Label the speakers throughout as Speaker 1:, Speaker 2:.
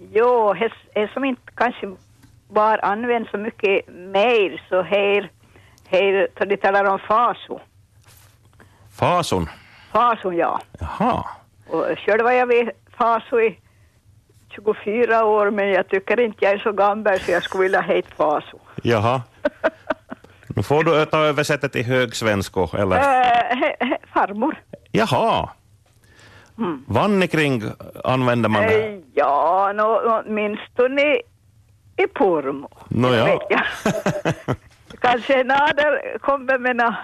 Speaker 1: Jo, det det som inte kanske bara används så mycket mer så här, här så de talar om faso.
Speaker 2: Fason.
Speaker 1: Fason, ja.
Speaker 2: Jaha.
Speaker 1: Och själv var jag vid faso i 24 år, men jag tycker inte jag är så gammal så jag skulle vilja heta faso.
Speaker 2: Jaha. Nu får du ta översätta till högsvensko, eller?
Speaker 1: Äh, he, he, farmor.
Speaker 2: Jaha. Vannekring använder man.
Speaker 1: Eh, ja, nå, åtminstone i, i Pormo.
Speaker 2: Nåja.
Speaker 1: vet jag. Kanske Nader kommer med nå-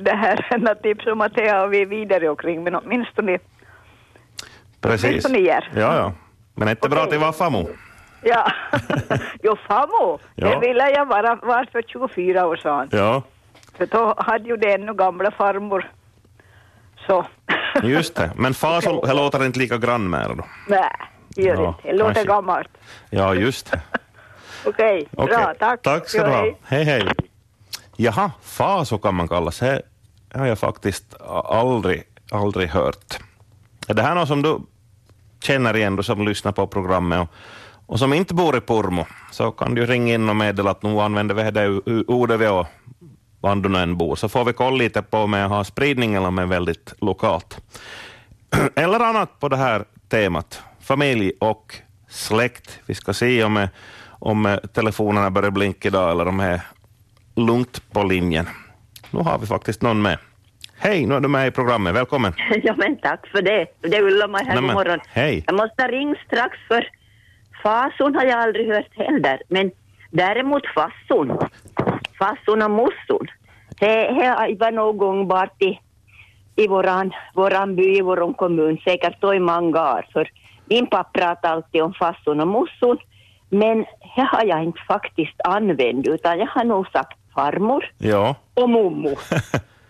Speaker 1: det här nå tips om att det har vi vidare omkring, men åtminstone
Speaker 2: Precis.
Speaker 1: åtminstone gör.
Speaker 2: Ja, ja. Men inte bra
Speaker 1: Okej.
Speaker 2: till vaffamo.
Speaker 1: Ja. jo, farmor,
Speaker 2: Ja.
Speaker 1: det ville jag vara var för 24 år sedan.
Speaker 2: Ja,
Speaker 1: För då hade ju det ännu gamla farmor. Så.
Speaker 2: just det. Men fasol det låter inte lika grann med då.
Speaker 1: Nej, det gör
Speaker 2: Ja,
Speaker 1: inte. Det låter
Speaker 2: kanske.
Speaker 1: gammalt.
Speaker 2: Ja, just det.
Speaker 1: Okej,
Speaker 2: Okej.
Speaker 1: bra, tack.
Speaker 2: Tack ska du
Speaker 1: Jo,
Speaker 2: ha.
Speaker 1: hej.
Speaker 2: Hej, hej. Jaha, faso kan man kallas. Det har jag faktiskt aldrig, aldrig hört. Är det här något som du känner igen, du som lyssnar på programmet och, och som inte bor i Pormo, så kan du ringa in och meddela att nu använder vi det u- u- ordet vi och var du nu än bor, så får vi kolla lite på om jag har spridning eller om jag är väldigt lokalt. Eller annat på det här temat, familj och släkt. Vi ska se om, eh, om eh, telefonerna börjar blinka idag eller om det är lugnt på linjen. Nu har vi faktiskt någon med. Hej, nu är du med i programmet. Välkommen.
Speaker 3: Ja men tack för det. Det är Ulla-Maj här,
Speaker 2: Nej, men,
Speaker 3: god morgon.
Speaker 2: hej.
Speaker 3: Jag måste ringa strax för fason har jag aldrig hört heller. Men däremot fasson, fasson och mosson. Det det var någon gång bara i, i våran, våran by, i våran kommun, säkert då i Mangar. För min pappa pratar alltid om fasson och mosson. Men det har jag inte faktiskt använt utan jag har nog sagt farmor
Speaker 2: Ja,
Speaker 3: och mommo.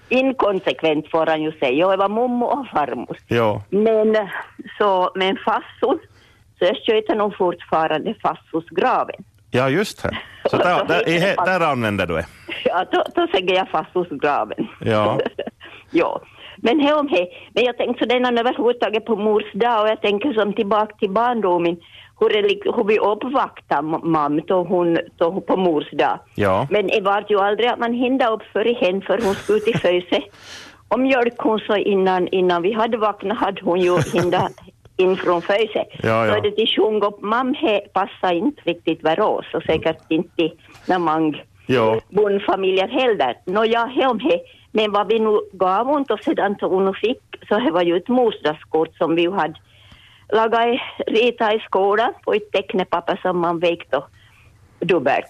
Speaker 3: Inkonsekvent får han ju säga. Jag var mommo och farmor.
Speaker 2: ja,
Speaker 3: Men, eh, så, men fasson, så jag sköter nog fortfarande fassosgraven.
Speaker 2: ja just det. Så där, där, i, he- där använder du det.
Speaker 3: Ja, då, då säger jag fassosgraven.
Speaker 2: Ja.
Speaker 3: ja. Men hej om hej. Men jag tänkte så denna överhuvudtaget på mors dag och jag tänker som tillbaka till barndomen. Hur, det, lik- hur vi uppvaktar ma- mamma då hon, då hon på mors dag.
Speaker 2: Ja.
Speaker 3: Men det var ju aldrig att man hinda upp för i hen för hon skulle ut i föse. Och mjölk hon så innan, innan vi hade vaknat hade hon ju hinda in från föse.
Speaker 2: Ja, ja.
Speaker 3: Så det till sjung upp mamma he passar inte riktigt var oss och säkert inte när man
Speaker 2: Ja.
Speaker 3: bondfamiljer heller. Nåja, he om he. Men vad vi nu gav hon och sedan så hon fick så det var ju ett morsdagskort som vi ju hade lagat i, ritat i skolan på ett tecknepapper som man vek då dubbelt.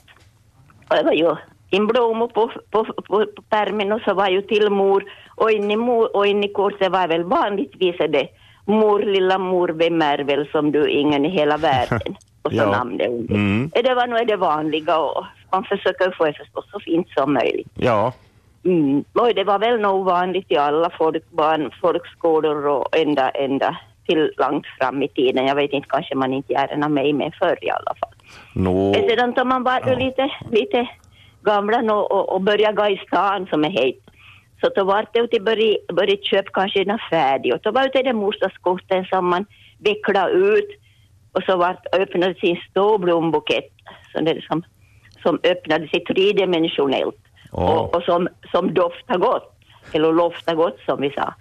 Speaker 3: Och det var ju en blomma på, på, på, på pärmen och så var ju till mor och in i, mor, och in i korset var väl vanligtvis är det mor, lilla mor, vem är väl som du, ingen i hela världen. Och så
Speaker 2: Ja.
Speaker 3: namnet under.
Speaker 2: Mm.
Speaker 3: Det var nog det vanliga och man försöker få det förstås så fint som möjligt.
Speaker 2: Ja,
Speaker 3: Mm. Oj, det var väl nog vanligt i alla folk, barn, folkskolor och ända, ända till långt fram i tiden. Jag vet inte, kanske man inte gör den med men förr i alla fall.
Speaker 2: no.
Speaker 3: Men sedan tar man bara lite, lite gamla nå och, och börjar gå i stan som är hejt. Så då var det ute börja, börja köpa kanske den färdig och då var det den morsdagskorten som man vecklade ut och så var, öppnade sin stor blombukett som, det som, som öppnade sig tredimensionellt
Speaker 2: Åh.
Speaker 3: och, och som, som doftar gott, eller loftar gott som vi sa.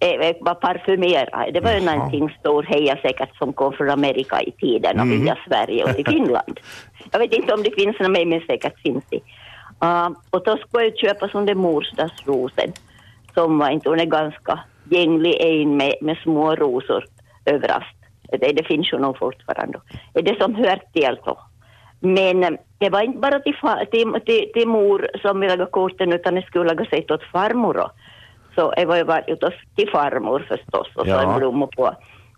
Speaker 3: Eh, eh, var parfymerad. Det var ju
Speaker 2: Jaha.
Speaker 3: någonting stor heja säkert som kom från Amerika i tiden och via Sverige och till Finland. Jag vet inte om det finns någon mer, men säkert finns det. Ah, och då skulle jag köpa som det morsdagsrosen som var inte, hon är ganska gänglig en med, med små rosor överallt. Det, det finns ju nog fortfarande. Det är det som hör till då. Men eh, det var inte bara till, fa- till, till, till mor som vi lagade korten utan det skulle laga sig åt farmor. då. Så det var ju var- åt oss till farmor förstås och så
Speaker 2: Ja.
Speaker 3: en blomma på.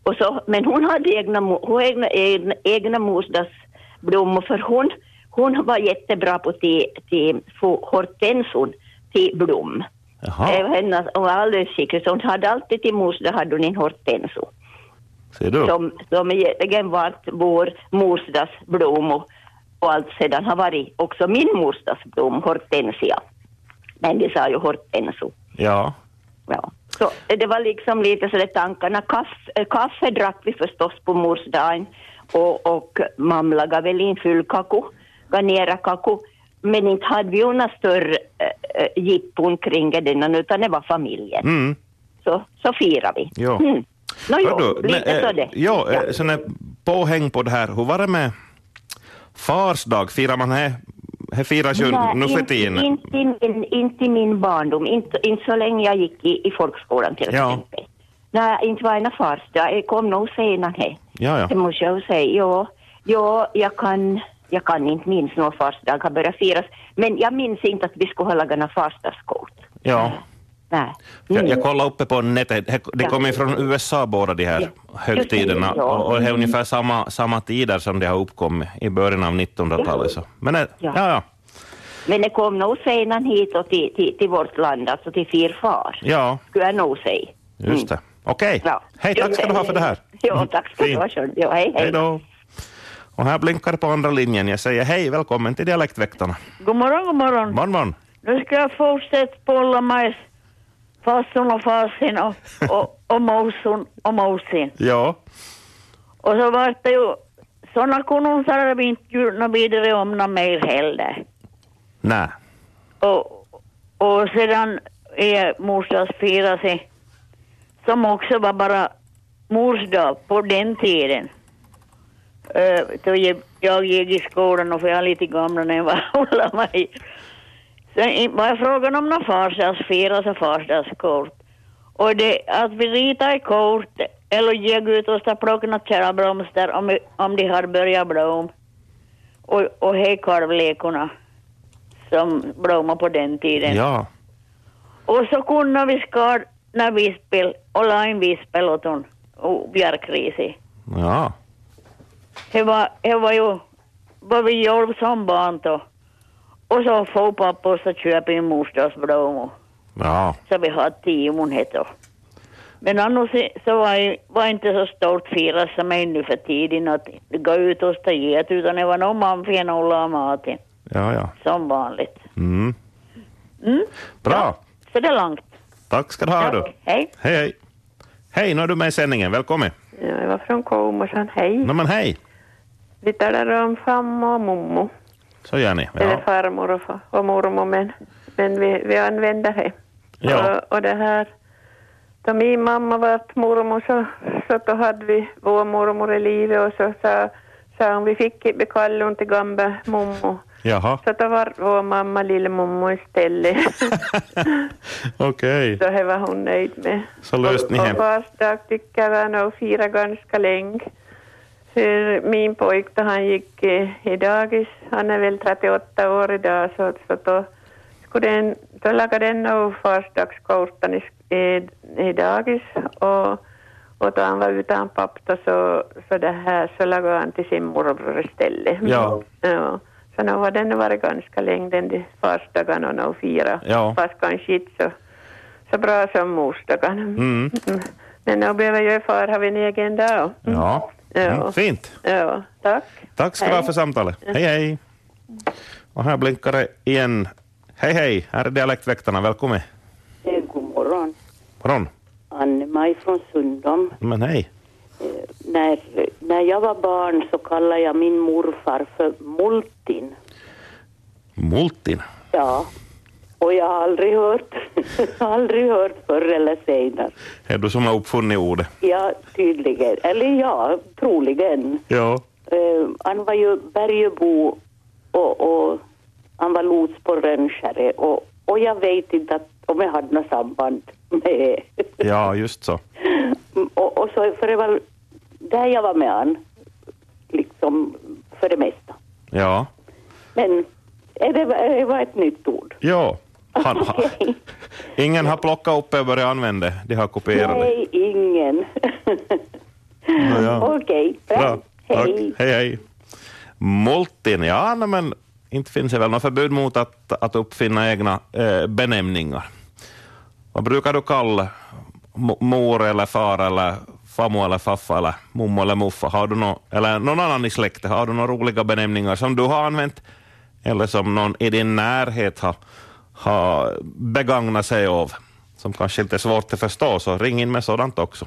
Speaker 3: Och så, men hon hade egna, mo- hon egna, egna, egna morsdagsblommor för hon, hon var jättebra på till, till få hortensor till blom. Det
Speaker 2: Jaha,
Speaker 3: var hennes, hon var alldeles skicklig, så hon hade alltid till mors, där hade hon en hortenso.
Speaker 2: ser du.
Speaker 3: Som, som egentligen var vår morsdags blom och, och allt sedan har varit också min morsdags blom, hortensia. Men de sa ju hortenso.
Speaker 2: Ja,
Speaker 3: Ja. Så eh, det var liksom lite så där tankarna. Kaffe, äh, kaffe drack vi förstås på morsdagen och, och man lagade väl in full kaku, garnera kaku. Men inte hade vi ju några större äh, jippon kring det, innan, utan det var familjen.
Speaker 2: Mm.
Speaker 3: Så, så firade vi.
Speaker 2: Jo.
Speaker 3: Mm. Nå jo,
Speaker 2: Hördu, men,
Speaker 3: lite
Speaker 2: eh,
Speaker 3: så det.
Speaker 2: Jo,
Speaker 3: Ja.
Speaker 2: ja. sån här påhäng på det här. Hur var det med fars dag? Firar man det? Det firas ju
Speaker 3: Nej,
Speaker 2: nu för
Speaker 3: inte-
Speaker 2: tiden.
Speaker 3: Inte, i min, inte i min barndom, inte, inte så länge jag gick i, i folkskolan till
Speaker 2: Ja.
Speaker 3: exempel. Nej, inte var ena farsta, jag kom nog senare. hej.
Speaker 2: Ja,
Speaker 3: Det
Speaker 2: ja.
Speaker 3: måste jag ju säga. Ja, ja jag, kan, jag kan inte minnas någon farsdag har börjat firas, men jag minns inte att vi skulle ha lagat några farsdagskort.
Speaker 2: ja.
Speaker 3: Nej.
Speaker 2: Jag,
Speaker 3: Mm.
Speaker 2: jag kollade uppe på nätet. Det- Det
Speaker 3: Ja.
Speaker 2: kommer ju från USA båda de här
Speaker 3: Ja.
Speaker 2: högtiderna.
Speaker 3: Just det, ja.
Speaker 2: Och, och det är ungefär samma, samma tider som de har uppkommit i början av 1900-talet. Så. Men det, ja.
Speaker 3: Ja.
Speaker 2: Ja,
Speaker 3: Men det kom nog senare hit och till, till, till vårt land, alltså till firfar,
Speaker 2: ja,
Speaker 3: skulle jag nog säga.
Speaker 2: just det. Okej.
Speaker 3: Ja.
Speaker 2: Hej, tack ska du ha för det här.
Speaker 3: Ja, tack ska du ha.
Speaker 2: Fint.
Speaker 3: Sköld. Ja, Mm. hej, hej.
Speaker 2: Hej då. Och här blinkar det på andra linjen. Jag säger hej, välkommen till Dialektväktarna.
Speaker 4: God morgon, god morgon.
Speaker 2: Morgon, morgon.
Speaker 4: Nu ska jag fortsätta bolla majs. Farsun och farsin och, och, och morsun och morsin.
Speaker 2: Ja.
Speaker 4: Och så vart det ju, sådana konungsar hade vi inte gjort något vidare om något mer heller.
Speaker 2: Nej.
Speaker 4: Och, och sedan är morsdags firade som också var bara morsdag på den tiden. Eh, då jag, jag gick i skolan och för jag är lite gamla när jag var hålla mig. Sen i- var jag frågan om någon farsdagsfirande så farsdagskort. Och det att vi ritade i kort eller gick ut och stod plockade några kära blomster om, vi- om de hade börjat blom. Och, och hejkarvlekorna som blommade på den tiden.
Speaker 2: Ja.
Speaker 4: Och så kunde vi skar när vispel och la en vispel åt hon och björkrisi.
Speaker 2: Ja.
Speaker 4: Det var, det var ju vad vi gjorde som barn då. Och så får pappa oss att köpa en morstars blommor.
Speaker 2: Ja.
Speaker 4: Så vi hade tio hon hette då. Men annars i- så var det var inte så stort firas som är nu för tiden att gå ut och stå get utan det var nog manfin och la maten
Speaker 2: Ja, ja.
Speaker 4: som vanligt.
Speaker 2: Mm.
Speaker 4: Mm?
Speaker 2: Bra.
Speaker 4: Ja, så det är långt.
Speaker 2: Tack ska du ha. Du.
Speaker 4: Hej.
Speaker 2: Hej, hej. Hej, nu är du med i sändningen. Välkommen.
Speaker 5: Ja, jag var från Komosan. Hej.
Speaker 2: No, men hej.
Speaker 5: Vi talar om fammo och mommo.
Speaker 2: Så gör ni.
Speaker 5: Eller
Speaker 2: Ja.
Speaker 5: farmor och, fa- och mormor, men, men vi, vi använder det.
Speaker 2: Ja.
Speaker 5: Och, och det här, då min mamma var mormor så, så då hade vi vår mormor i livet och så sa, sa hon vi fick inte kalla hon till gamla mommo.
Speaker 2: Jaha.
Speaker 5: Så då var vår mamma lillemommo istället.
Speaker 2: Okej.
Speaker 5: så det var hon nöjd med.
Speaker 2: Så löste ni
Speaker 5: Och-
Speaker 2: hem.
Speaker 5: Och fars dag tycker jag nog fira ganska länge. För min pojk då han gick i, i dagis, han är väl 38 år idag, så, så då, skulle den, då lagade den nog farsdagskortan i, sk- i, i dagis och, och då han var utan papp då så, så, det här, så lagade han till sin morbror istället.
Speaker 2: Ja.
Speaker 5: ja. Så nu har den varit ganska länge den de farsdagarna och nog fira.
Speaker 2: Ja.
Speaker 5: Fast kanske inte så, så bra som morsdagarna.
Speaker 2: Mm.
Speaker 5: Mm. Men nu behöver jag far ha en egen dag. Mm.
Speaker 2: Ja. Mm. Fint.
Speaker 5: Ja, tack.
Speaker 2: Tack ska du ha för samtalet. Hej, Mm. hej. Och här blinkar det igen. Hej, hej. Här är Dialektväktarna. Välkommen.
Speaker 6: Eh, God morgon.
Speaker 2: Morgon.
Speaker 6: Anne-Maj från Sundom.
Speaker 2: Men hej.
Speaker 6: Eh, När, när jag var barn så kallade jag min morfar för Multin.
Speaker 2: Multin.
Speaker 6: Ja. Och jag har aldrig hört, aldrig hört förr eller senare.
Speaker 2: Är du som har uppfunnit ordet?
Speaker 6: Ja, tydligen. Eller ja, troligen.
Speaker 2: Ja.
Speaker 6: Eh, han var ju Bergebo och, och han var lots på Rönnskärre och, och jag vet inte att, om jag hade något samband med
Speaker 2: Ja, just så.
Speaker 6: Mm, Och, och så för det var där jag var med han, liksom för det mesta.
Speaker 2: Ja.
Speaker 6: Men eh, det var, det var ett nytt ord.
Speaker 2: Ja. Han, ha,
Speaker 6: Okej.
Speaker 2: ingen har plockat upp det och börjat använda det. De har kopierat det.
Speaker 6: Nej, ingen.
Speaker 2: Nå, ja.
Speaker 6: Okej,
Speaker 2: Bra.
Speaker 6: bra.
Speaker 2: Tack.
Speaker 6: Hej.
Speaker 2: Hej, hej. Multin, ja, nej, men inte finns det väl något förbud mot att, att uppfinna egna eh, benämningar. Vad brukar du kalla mo- mor eller far eller farmor eller faffa eller mummo eller muffa? Har du nå, eller någon annan i släkten, har du några roliga benämningar som du har använt eller som någon i din närhet har, har begagnat sig av? Som kanske inte är svårt att förstå, så ring in med sådant också.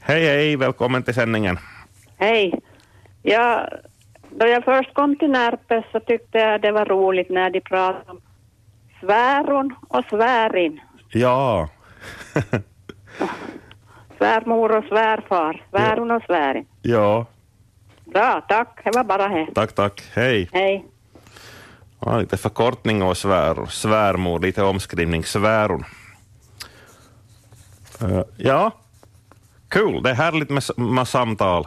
Speaker 2: Hej, hej, välkommen till sändningen.
Speaker 4: Hej.
Speaker 5: Ja, då jag först kom till Närpes så tyckte jag det var roligt när de pratade om sväron och svärin.
Speaker 2: Ja.
Speaker 5: Svärmor och svärfar. Sväron och svärin.
Speaker 2: ja.
Speaker 5: Bra, tack. Det var bara det.
Speaker 2: Tack, tack. Hej.
Speaker 5: Hej.
Speaker 2: Ja, lite förkortning och sväror. Svärmor, lite omskrivning. Sväror. Eh, ja, kul. Cool. Det är härligt med, s- med samtal.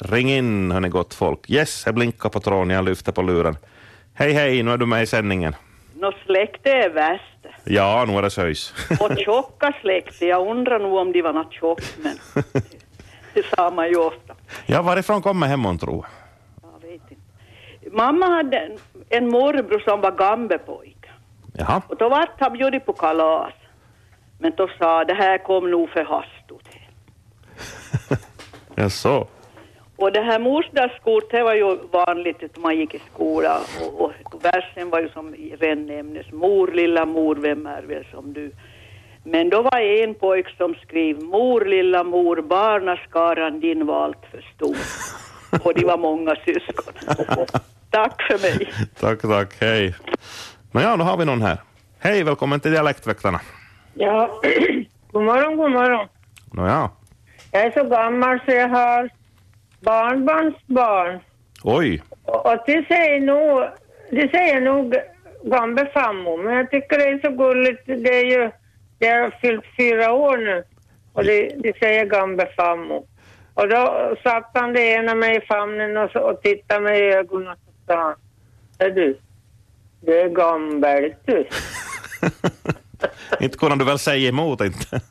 Speaker 2: Ring in, hörni gott folk. Yes, jag blinkar på tråden, jag lyfter på luren. Hej, hej, nu är du med i sändningen.
Speaker 7: Nå, släkte är värst.
Speaker 2: Ja, nu är det söjs.
Speaker 7: Och tjocka släkte, jag undrar nog om de var något tjockt, men det sa man ju ofta.
Speaker 2: ja, varifrån kommer hemman, tro?
Speaker 7: Jag vet inte. Mamma hade en, en morbror som var gambepojke.
Speaker 2: Jaha.
Speaker 7: Och då vart han bjudit på kalas. Men då sa det här kom nog för hast.
Speaker 2: Jaså?
Speaker 7: Och det här morsdagskort, det var ju vanligt att man gick i skola och, och versen var ju som i renämnes mor, lilla mor, vem är väl som du? Men då var en pojk som skrev mor, lilla mor, barnaskaran din var allt för stor. Och de var många syskon. Tack för mig.
Speaker 2: Tack, tack. Hej. Nåja, nu har vi någon här. Hej, välkommen till Dialektväktarna.
Speaker 8: Ja, god morgon, god morgon.
Speaker 2: Nåja,
Speaker 8: Jag är så gammal så jag har barnbarnsbarn.
Speaker 2: oj.
Speaker 8: Och och det säger nog, det säger nog gammelfarmor, men jag tycker det är så gulligt. Det är ju, det har fyllt fyra år nu och det, det säger gammelfarmor. Och då satte han det ena mig i famnen och, så, och tittade mig i ögonen och så sa han, "Hör du, du är gammel du.
Speaker 2: Inte kunde du väl säga emot inte?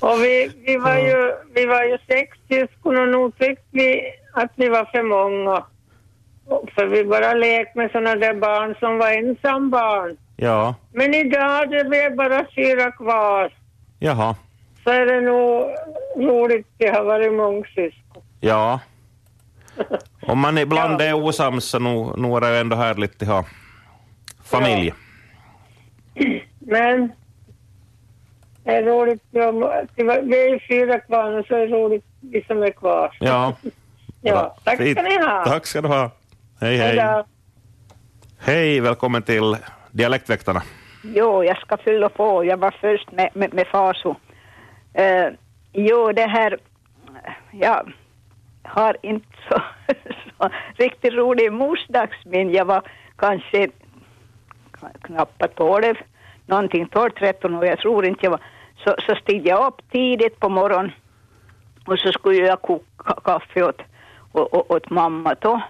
Speaker 8: Och vi, vi, var ju, vi var ju sex syskon och nog tyckte vi att vi var för många. Och För vi bara lekte med sådana där barn som var ensambarn.
Speaker 2: Ja,
Speaker 8: Men idag det blev bara fyra kvar.
Speaker 2: jaha.
Speaker 8: Så är det nog roligt, det har varit mångsyskon.
Speaker 2: Ja. Om man ibland är osams så nu, nu är det ändå härligt att ha familj.
Speaker 8: Men det är roligt, om- det var- vi är ju fyra kvar nu så är det roligt vi som är kvar.
Speaker 2: Ja.
Speaker 8: Ja, tack ska
Speaker 2: Fint.
Speaker 8: ni ha.
Speaker 2: Tack ska du ha. Hej, hej.
Speaker 8: Hej då.
Speaker 2: Hej, välkommen till Dialektväktarna.
Speaker 1: Jo, jag ska fylla på. Jag var först med, med, med Faso. Eh, jo, det här... Jag har inte så, så riktigt rolig morsdagsmin. Jag var kanske kn- knappt 12, någonting 12, 13 och jag tror inte jag var... Så, så steg jag upp tidigt på morgonen och så skulle jag koka kaffe åt, å- å- åt mamma då.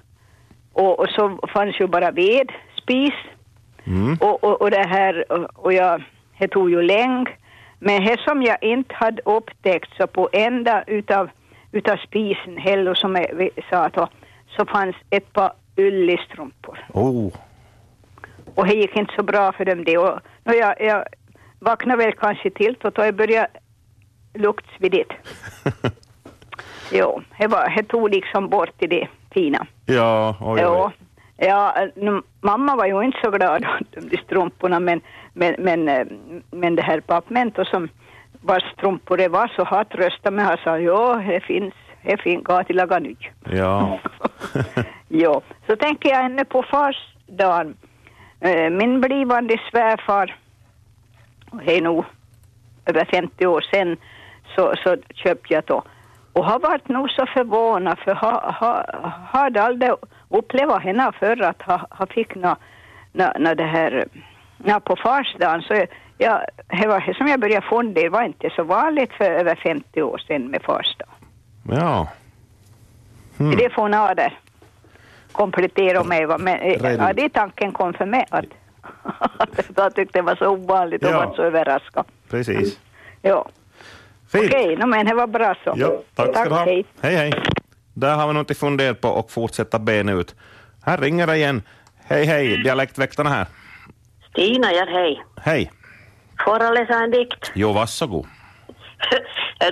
Speaker 1: Och, och så fanns ju bara ved, spis
Speaker 2: Mm.
Speaker 1: och, och, och det här, och- och jag, det tog ju länge. Men det som jag inte hade upptäckt så på ända utav, utav spisen, heller som jag vi- sa då, så fanns ett par yllestrumpor.
Speaker 2: Oh,
Speaker 1: Och det gick inte så bra för dem det. Och, och jag, jag vaknade väl kanske till då, då jag började luktsvidigt. jo, det var- det tog liksom bort i det fina.
Speaker 2: ja, oj, oj.
Speaker 1: Ja, ja nu, mamma var ju inte så glad åt de strumporna men, men, men, eh, men det här Papmento som vars strumpor det var så har tröstat mig. Han sa ja, det finns, det finns, gå till laga ny.
Speaker 2: Ja,
Speaker 1: Ja, så tänker jag ännu på fars dag. Eh, Min blivande svärfar, och det är nog över 50 år sedan, så, så köpte jag då. Och har varit nog så förvånad för ha, ha, hade aldrig upplevt henne förr att ha, ha fick nå, nå, nå det här, nå på fars dagen så jag, det var det som jag började fundera, det var inte så vanligt för över 50 år sedan med fars dag.
Speaker 2: ja. Mm.
Speaker 1: Det får några där komplettera mig. va, Men eh,
Speaker 2: Redo.
Speaker 1: ja, det tanken kom för mig att, att jag tyckte det var så ovanligt och
Speaker 2: Ja.
Speaker 1: var så överraskad.
Speaker 2: Precis.
Speaker 1: Ja.
Speaker 2: Fint.
Speaker 1: Okej, no, men det var bra så.
Speaker 2: Ja, tack ska du ha.
Speaker 1: hej.
Speaker 2: Hej, hej. Där har vi något att fundera på och fortsätta bena ut. Här ringer det igen. Hej, hej, Dialektväktarna här.
Speaker 9: Stina, ja hej.
Speaker 2: Hej.
Speaker 9: Får jag läsa en dikt?
Speaker 2: Jo, varsågod.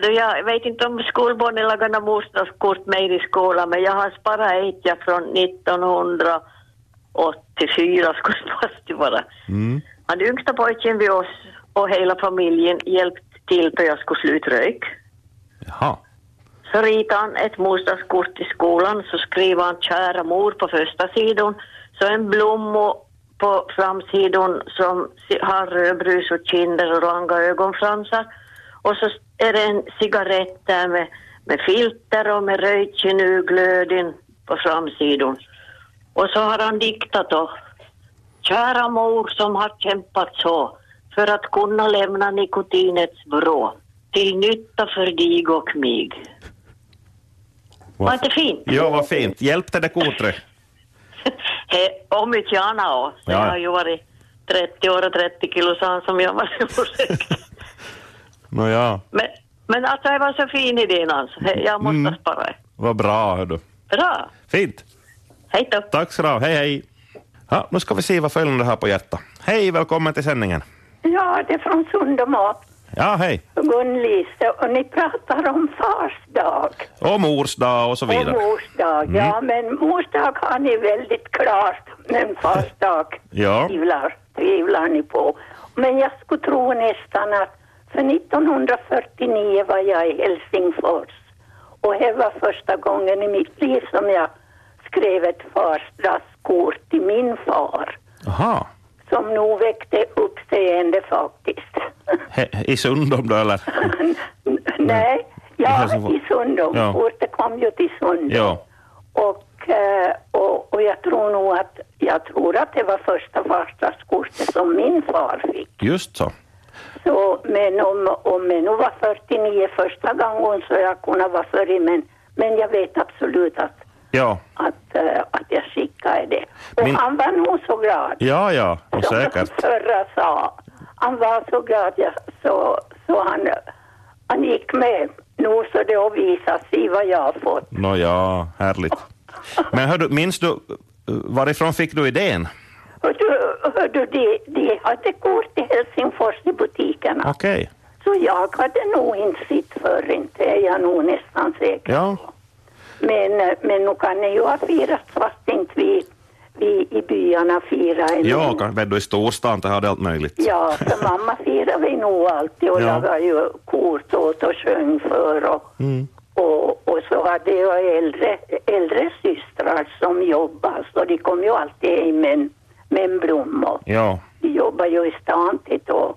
Speaker 9: Du, jag vet inte om skolbarnen lagar några morsdagskort med er i skolan, men jag har sparat ett ja, från 1984, skulle fast det vara.
Speaker 10: Mm.
Speaker 9: Han yngsta pojken vid oss och hela familjen hjälpt till då jag skulle sluta röka.
Speaker 2: Jaha.
Speaker 9: Så ritar han ett morsdagskort till skolan, så skriver han kära mor på första sidan, så en blomma på framsidan som si- har rödbrus och kinder och långa ögonfransar. Och så är det en cigarett där med, med filter och med röjtjen ur glöden på framsidan. Och så har han diktat då. Kära mor som har kämpat så för att kunna lämna nikotinets vrå till nytta för dig och mig. Var inte fint?
Speaker 2: Jo, vad fint. Hjälpte det kortet?
Speaker 9: He, och mycket annat också.
Speaker 2: Ja.
Speaker 9: Jag har ju varit 30 år och 30 kilo sa han som jag var.
Speaker 2: Nå ja,
Speaker 9: men, men alltså det var så fin idén alltså. He, Jag måste
Speaker 2: Mm.
Speaker 9: spara det.
Speaker 2: vad bra. Hördu.
Speaker 9: Bra!
Speaker 2: Fint.
Speaker 9: Hej då!
Speaker 2: Tack så du ha. Hej, hej. Ja, nu ska vi se vad följande har på hjärtat. Hej, välkommen till sändningen.
Speaker 10: Ja, det är från Sundermat,
Speaker 2: Ja, hej.
Speaker 10: Gun-Lise, och ni pratar om fars dag
Speaker 2: Och mors dag och så
Speaker 10: och
Speaker 2: vidare.
Speaker 10: mors dag. Ja,
Speaker 2: Mm.
Speaker 10: men mors dag har ni väldigt klart, men fars dag
Speaker 2: Ja.
Speaker 10: tvivlar, tvivlar ni på. Men jag skulle tro nästan att för 1949 var jag i Helsingfors och det var första gången i mitt liv som jag skrev ett farsdagskort till min far
Speaker 2: Aha.
Speaker 10: som nog väckte uppseende faktiskt.
Speaker 2: He, I Sundom då, eller?
Speaker 10: Nej,
Speaker 2: I
Speaker 10: ja,
Speaker 2: Helsingfors.
Speaker 10: i Sundom.
Speaker 2: Ja.
Speaker 10: Kortet kom ju till Sundom.
Speaker 2: Ja.
Speaker 10: Och, eh, och, och jag tror nog att, jag tror att det var första farsdagskortet som min far fick.
Speaker 2: Just så.
Speaker 10: Så, men om, om jag nog var 49 första gången så jag kunde vara före, men, men jag vet absolut att,
Speaker 2: Ja,
Speaker 10: att, eh, att jag skickade det. Och
Speaker 2: Min-
Speaker 10: han var nog så glad.
Speaker 2: ja, ja. Och säkert.
Speaker 10: Förra sa. Han var så glad jag, så, så han, han gick med. Nu så det har visat sig vad jag har fått.
Speaker 2: Nå ja, härligt. Men hördu, minns du, eh, varifrån fick du idén?
Speaker 10: Hör du, hör du de, de hade kort i Helsingfors i butikerna.
Speaker 2: Okej.
Speaker 10: Så jag hade nog inte sett förr, inte är jag nog nästan säker.
Speaker 2: Ja.
Speaker 10: Men, eh, men nu kan det ju ha firats fast inte vi, vi i byarna firar ännu.
Speaker 2: Ja, kan- vet du, i storstan det hade allt möjligt.
Speaker 10: Ja, för mamma firar vi nog alltid och
Speaker 2: Ja.
Speaker 10: lagade ju kort åt och sjöng för och,
Speaker 2: Mm.
Speaker 10: och, och så hade jag äldre, äldre systrar som jobbade så de kom ju alltid hem med, en- med en blomma.
Speaker 2: Ja,
Speaker 10: Vi jobbar ju i stan till då.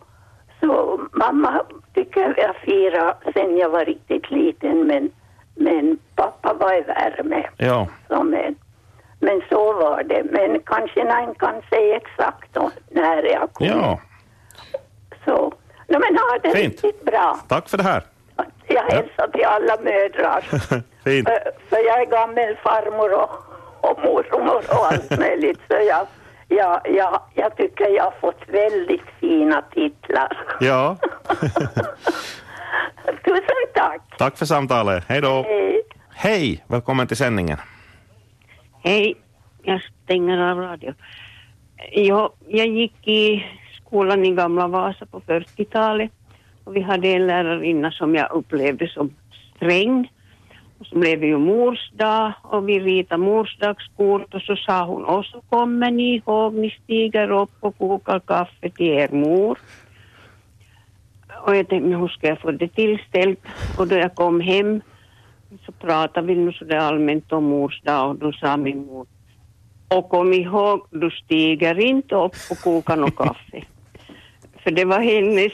Speaker 10: Så mamma tycker jag fira sen jag var riktigt liten men, men pappa var i värme.
Speaker 2: ja.
Speaker 10: Som en. Men så var det. Men kanske någon kan säga exakt om när jag kom.
Speaker 2: Ja,
Speaker 10: Så. No, men ha det
Speaker 2: Fint.
Speaker 10: riktigt bra.
Speaker 2: tack för det här.
Speaker 10: Jag hälsar till alla mödrar.
Speaker 2: Fint.
Speaker 10: För, för jag är gammal farmor och, och mormor och allt möjligt. Så jag, jag, jag, jag tycker jag har fått väldigt fina titlar.
Speaker 2: Ja,
Speaker 10: Tusen tack.
Speaker 2: tack för samtalet. Hej då.
Speaker 10: Hej.
Speaker 2: Hej, välkommen till sändningen.
Speaker 11: Hej, jag stänger av radio. Jag, jag gick i skolan i Gamla Vasa på 40-talet och vi hade en lärarinna som jag upplevde som sträng. Och så blev det ju morsdag och vi ritade morsdagskort och så sa hon och så kommer ni ihåg, ni stiger upp och kokar kaffe till er mor. Och jag tänkte, "Men hur ska jag få det tillställt? Och då jag kom hem så pratade vi nu sådär allmänt om mors dag och då sa min mor och kom ihåg, du stiger inte upp och kokar något kaffe. För det var hennes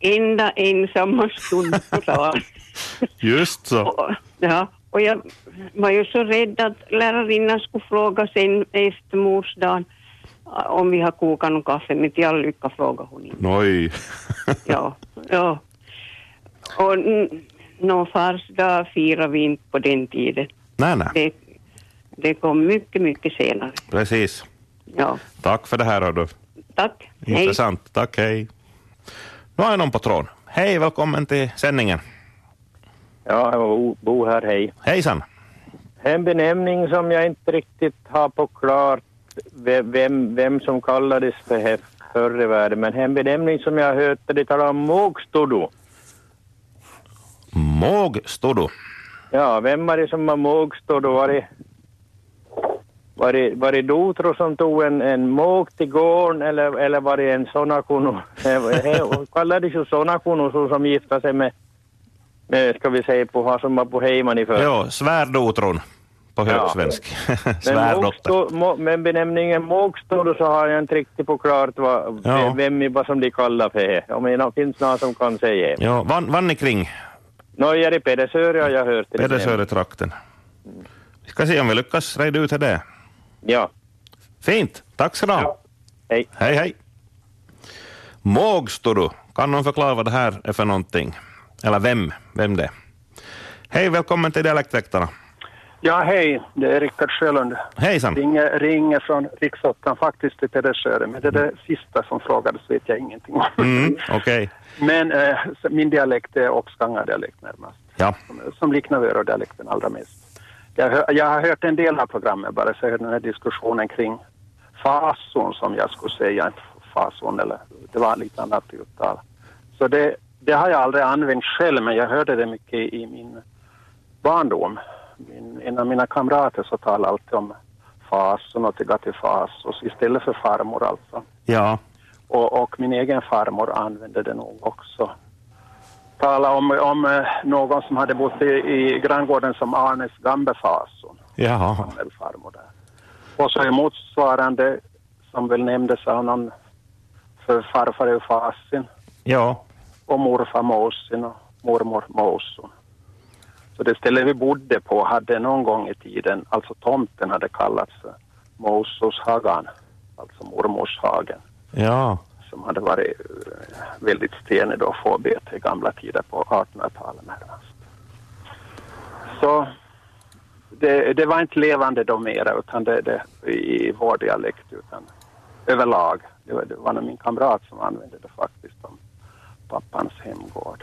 Speaker 11: enda ensamma stund på dagen.
Speaker 2: Just så.
Speaker 11: Och- Ja, och jag var ju så rädd att lärarinnan skulle fråga sen efter morsdagen ah, om vi har kokat något kaffe, men till all lycka frågade hon inte.
Speaker 2: Oj.
Speaker 11: Ja, ja. Och mm, någon fars dag firade vi inte på den tiden.
Speaker 2: Nej, nej.
Speaker 11: Det, det kom mycket, mycket senare.
Speaker 2: Precis.
Speaker 11: Ja,
Speaker 2: Tack för det här, hördu.
Speaker 11: tack. Hej.
Speaker 2: Intressant. Tack, hej. Nu har jag någon på tråden. Hej, välkommen till sändningen.
Speaker 12: Ja, jag Bo här, hej.
Speaker 2: Hejsan.
Speaker 12: En benämning som jag inte riktigt har på klart ve- vem, vem som kallades för här förr i världen, men en benämning som jag hörde, det talar om mågstodo.
Speaker 2: Mågstodo.
Speaker 12: Ja, vem var det som var mågstodo? Var det, var det, var det Dotro som tog en, en måg till gården eller, eller var det en sonakuno? Hon kallades ju sonakuno så som gifte sig med eh, ska vi säga på, har som var på Heimaniför.
Speaker 2: Jo, svärdotron på
Speaker 12: Eh. Ja.
Speaker 2: högsvensk.
Speaker 12: Men,
Speaker 2: Svärdotter.
Speaker 12: Mogstå- Mo- men benämningen Mågstål så har jag inte riktigt på klart vad,
Speaker 2: Ja.
Speaker 12: vem vad som de kallar för det. Om det finns någon som kan säga.
Speaker 2: Ja, vann, vann ni kring
Speaker 12: Norge i Pedersöre har jag hört. det.
Speaker 2: Pedersöretrakten? Vi ska se om vi lyckas reda ut det.
Speaker 12: Ja.
Speaker 2: Fint, tack ska du ha.
Speaker 12: Hej.
Speaker 2: Hej, hej. Mågsturu, kan någon förklara vad det här är för någonting? Eller vem, vem det är? Hej, välkommen till Dialektväktarna.
Speaker 13: Ja, hej. Det är Rickard Sjölund.
Speaker 2: Hejsan.
Speaker 13: Ringer, ringer från riksåttan faktiskt till Pedersöre, men det är det sista som frågades vet jag ingenting om.
Speaker 2: Mm, Okej,
Speaker 13: Men eh, min dialekt är Oxganga-dialekt närmast,
Speaker 2: ja.
Speaker 13: som liknar Vörå-dialekten allra mest. Jag, hör, jag har hört en del av programmet bara, så jag hörde den här diskussionen kring fason som jag skulle säga, inte fason eller det var lite annat uttal. Så det, det har jag aldrig använt själv, men jag hörde det mycket i min barndom. Min, en av mina kamrater så talade alltid om fason och tycka till fas och så istället för farmor alltså.
Speaker 2: Ja,
Speaker 13: Och, och min egen farmor använde det nog också. Tala om, om eh, någon som hade bott i, i granngården som Arnes gambefason
Speaker 2: jaha.
Speaker 13: väl farmor där. Och så är motsvarande som väl nämndes av någon för farfar är ju fasin
Speaker 2: Ja,
Speaker 13: och morfar Måsin och mormor Måson. Så det ställe vi bodde på hade någon gång i tiden, alltså tomten hade kallats för Mososhagan, alltså mormorshagen
Speaker 2: ja.
Speaker 13: som hade varit eh, väldigt stenig då för bete i gamla tider på 1800-talet närmast. Så det, det var inte levande då mera utan det, det i vår dialekt utan överlag. Det var, det var nog min kamrat som använde det faktiskt om pappans hemgård.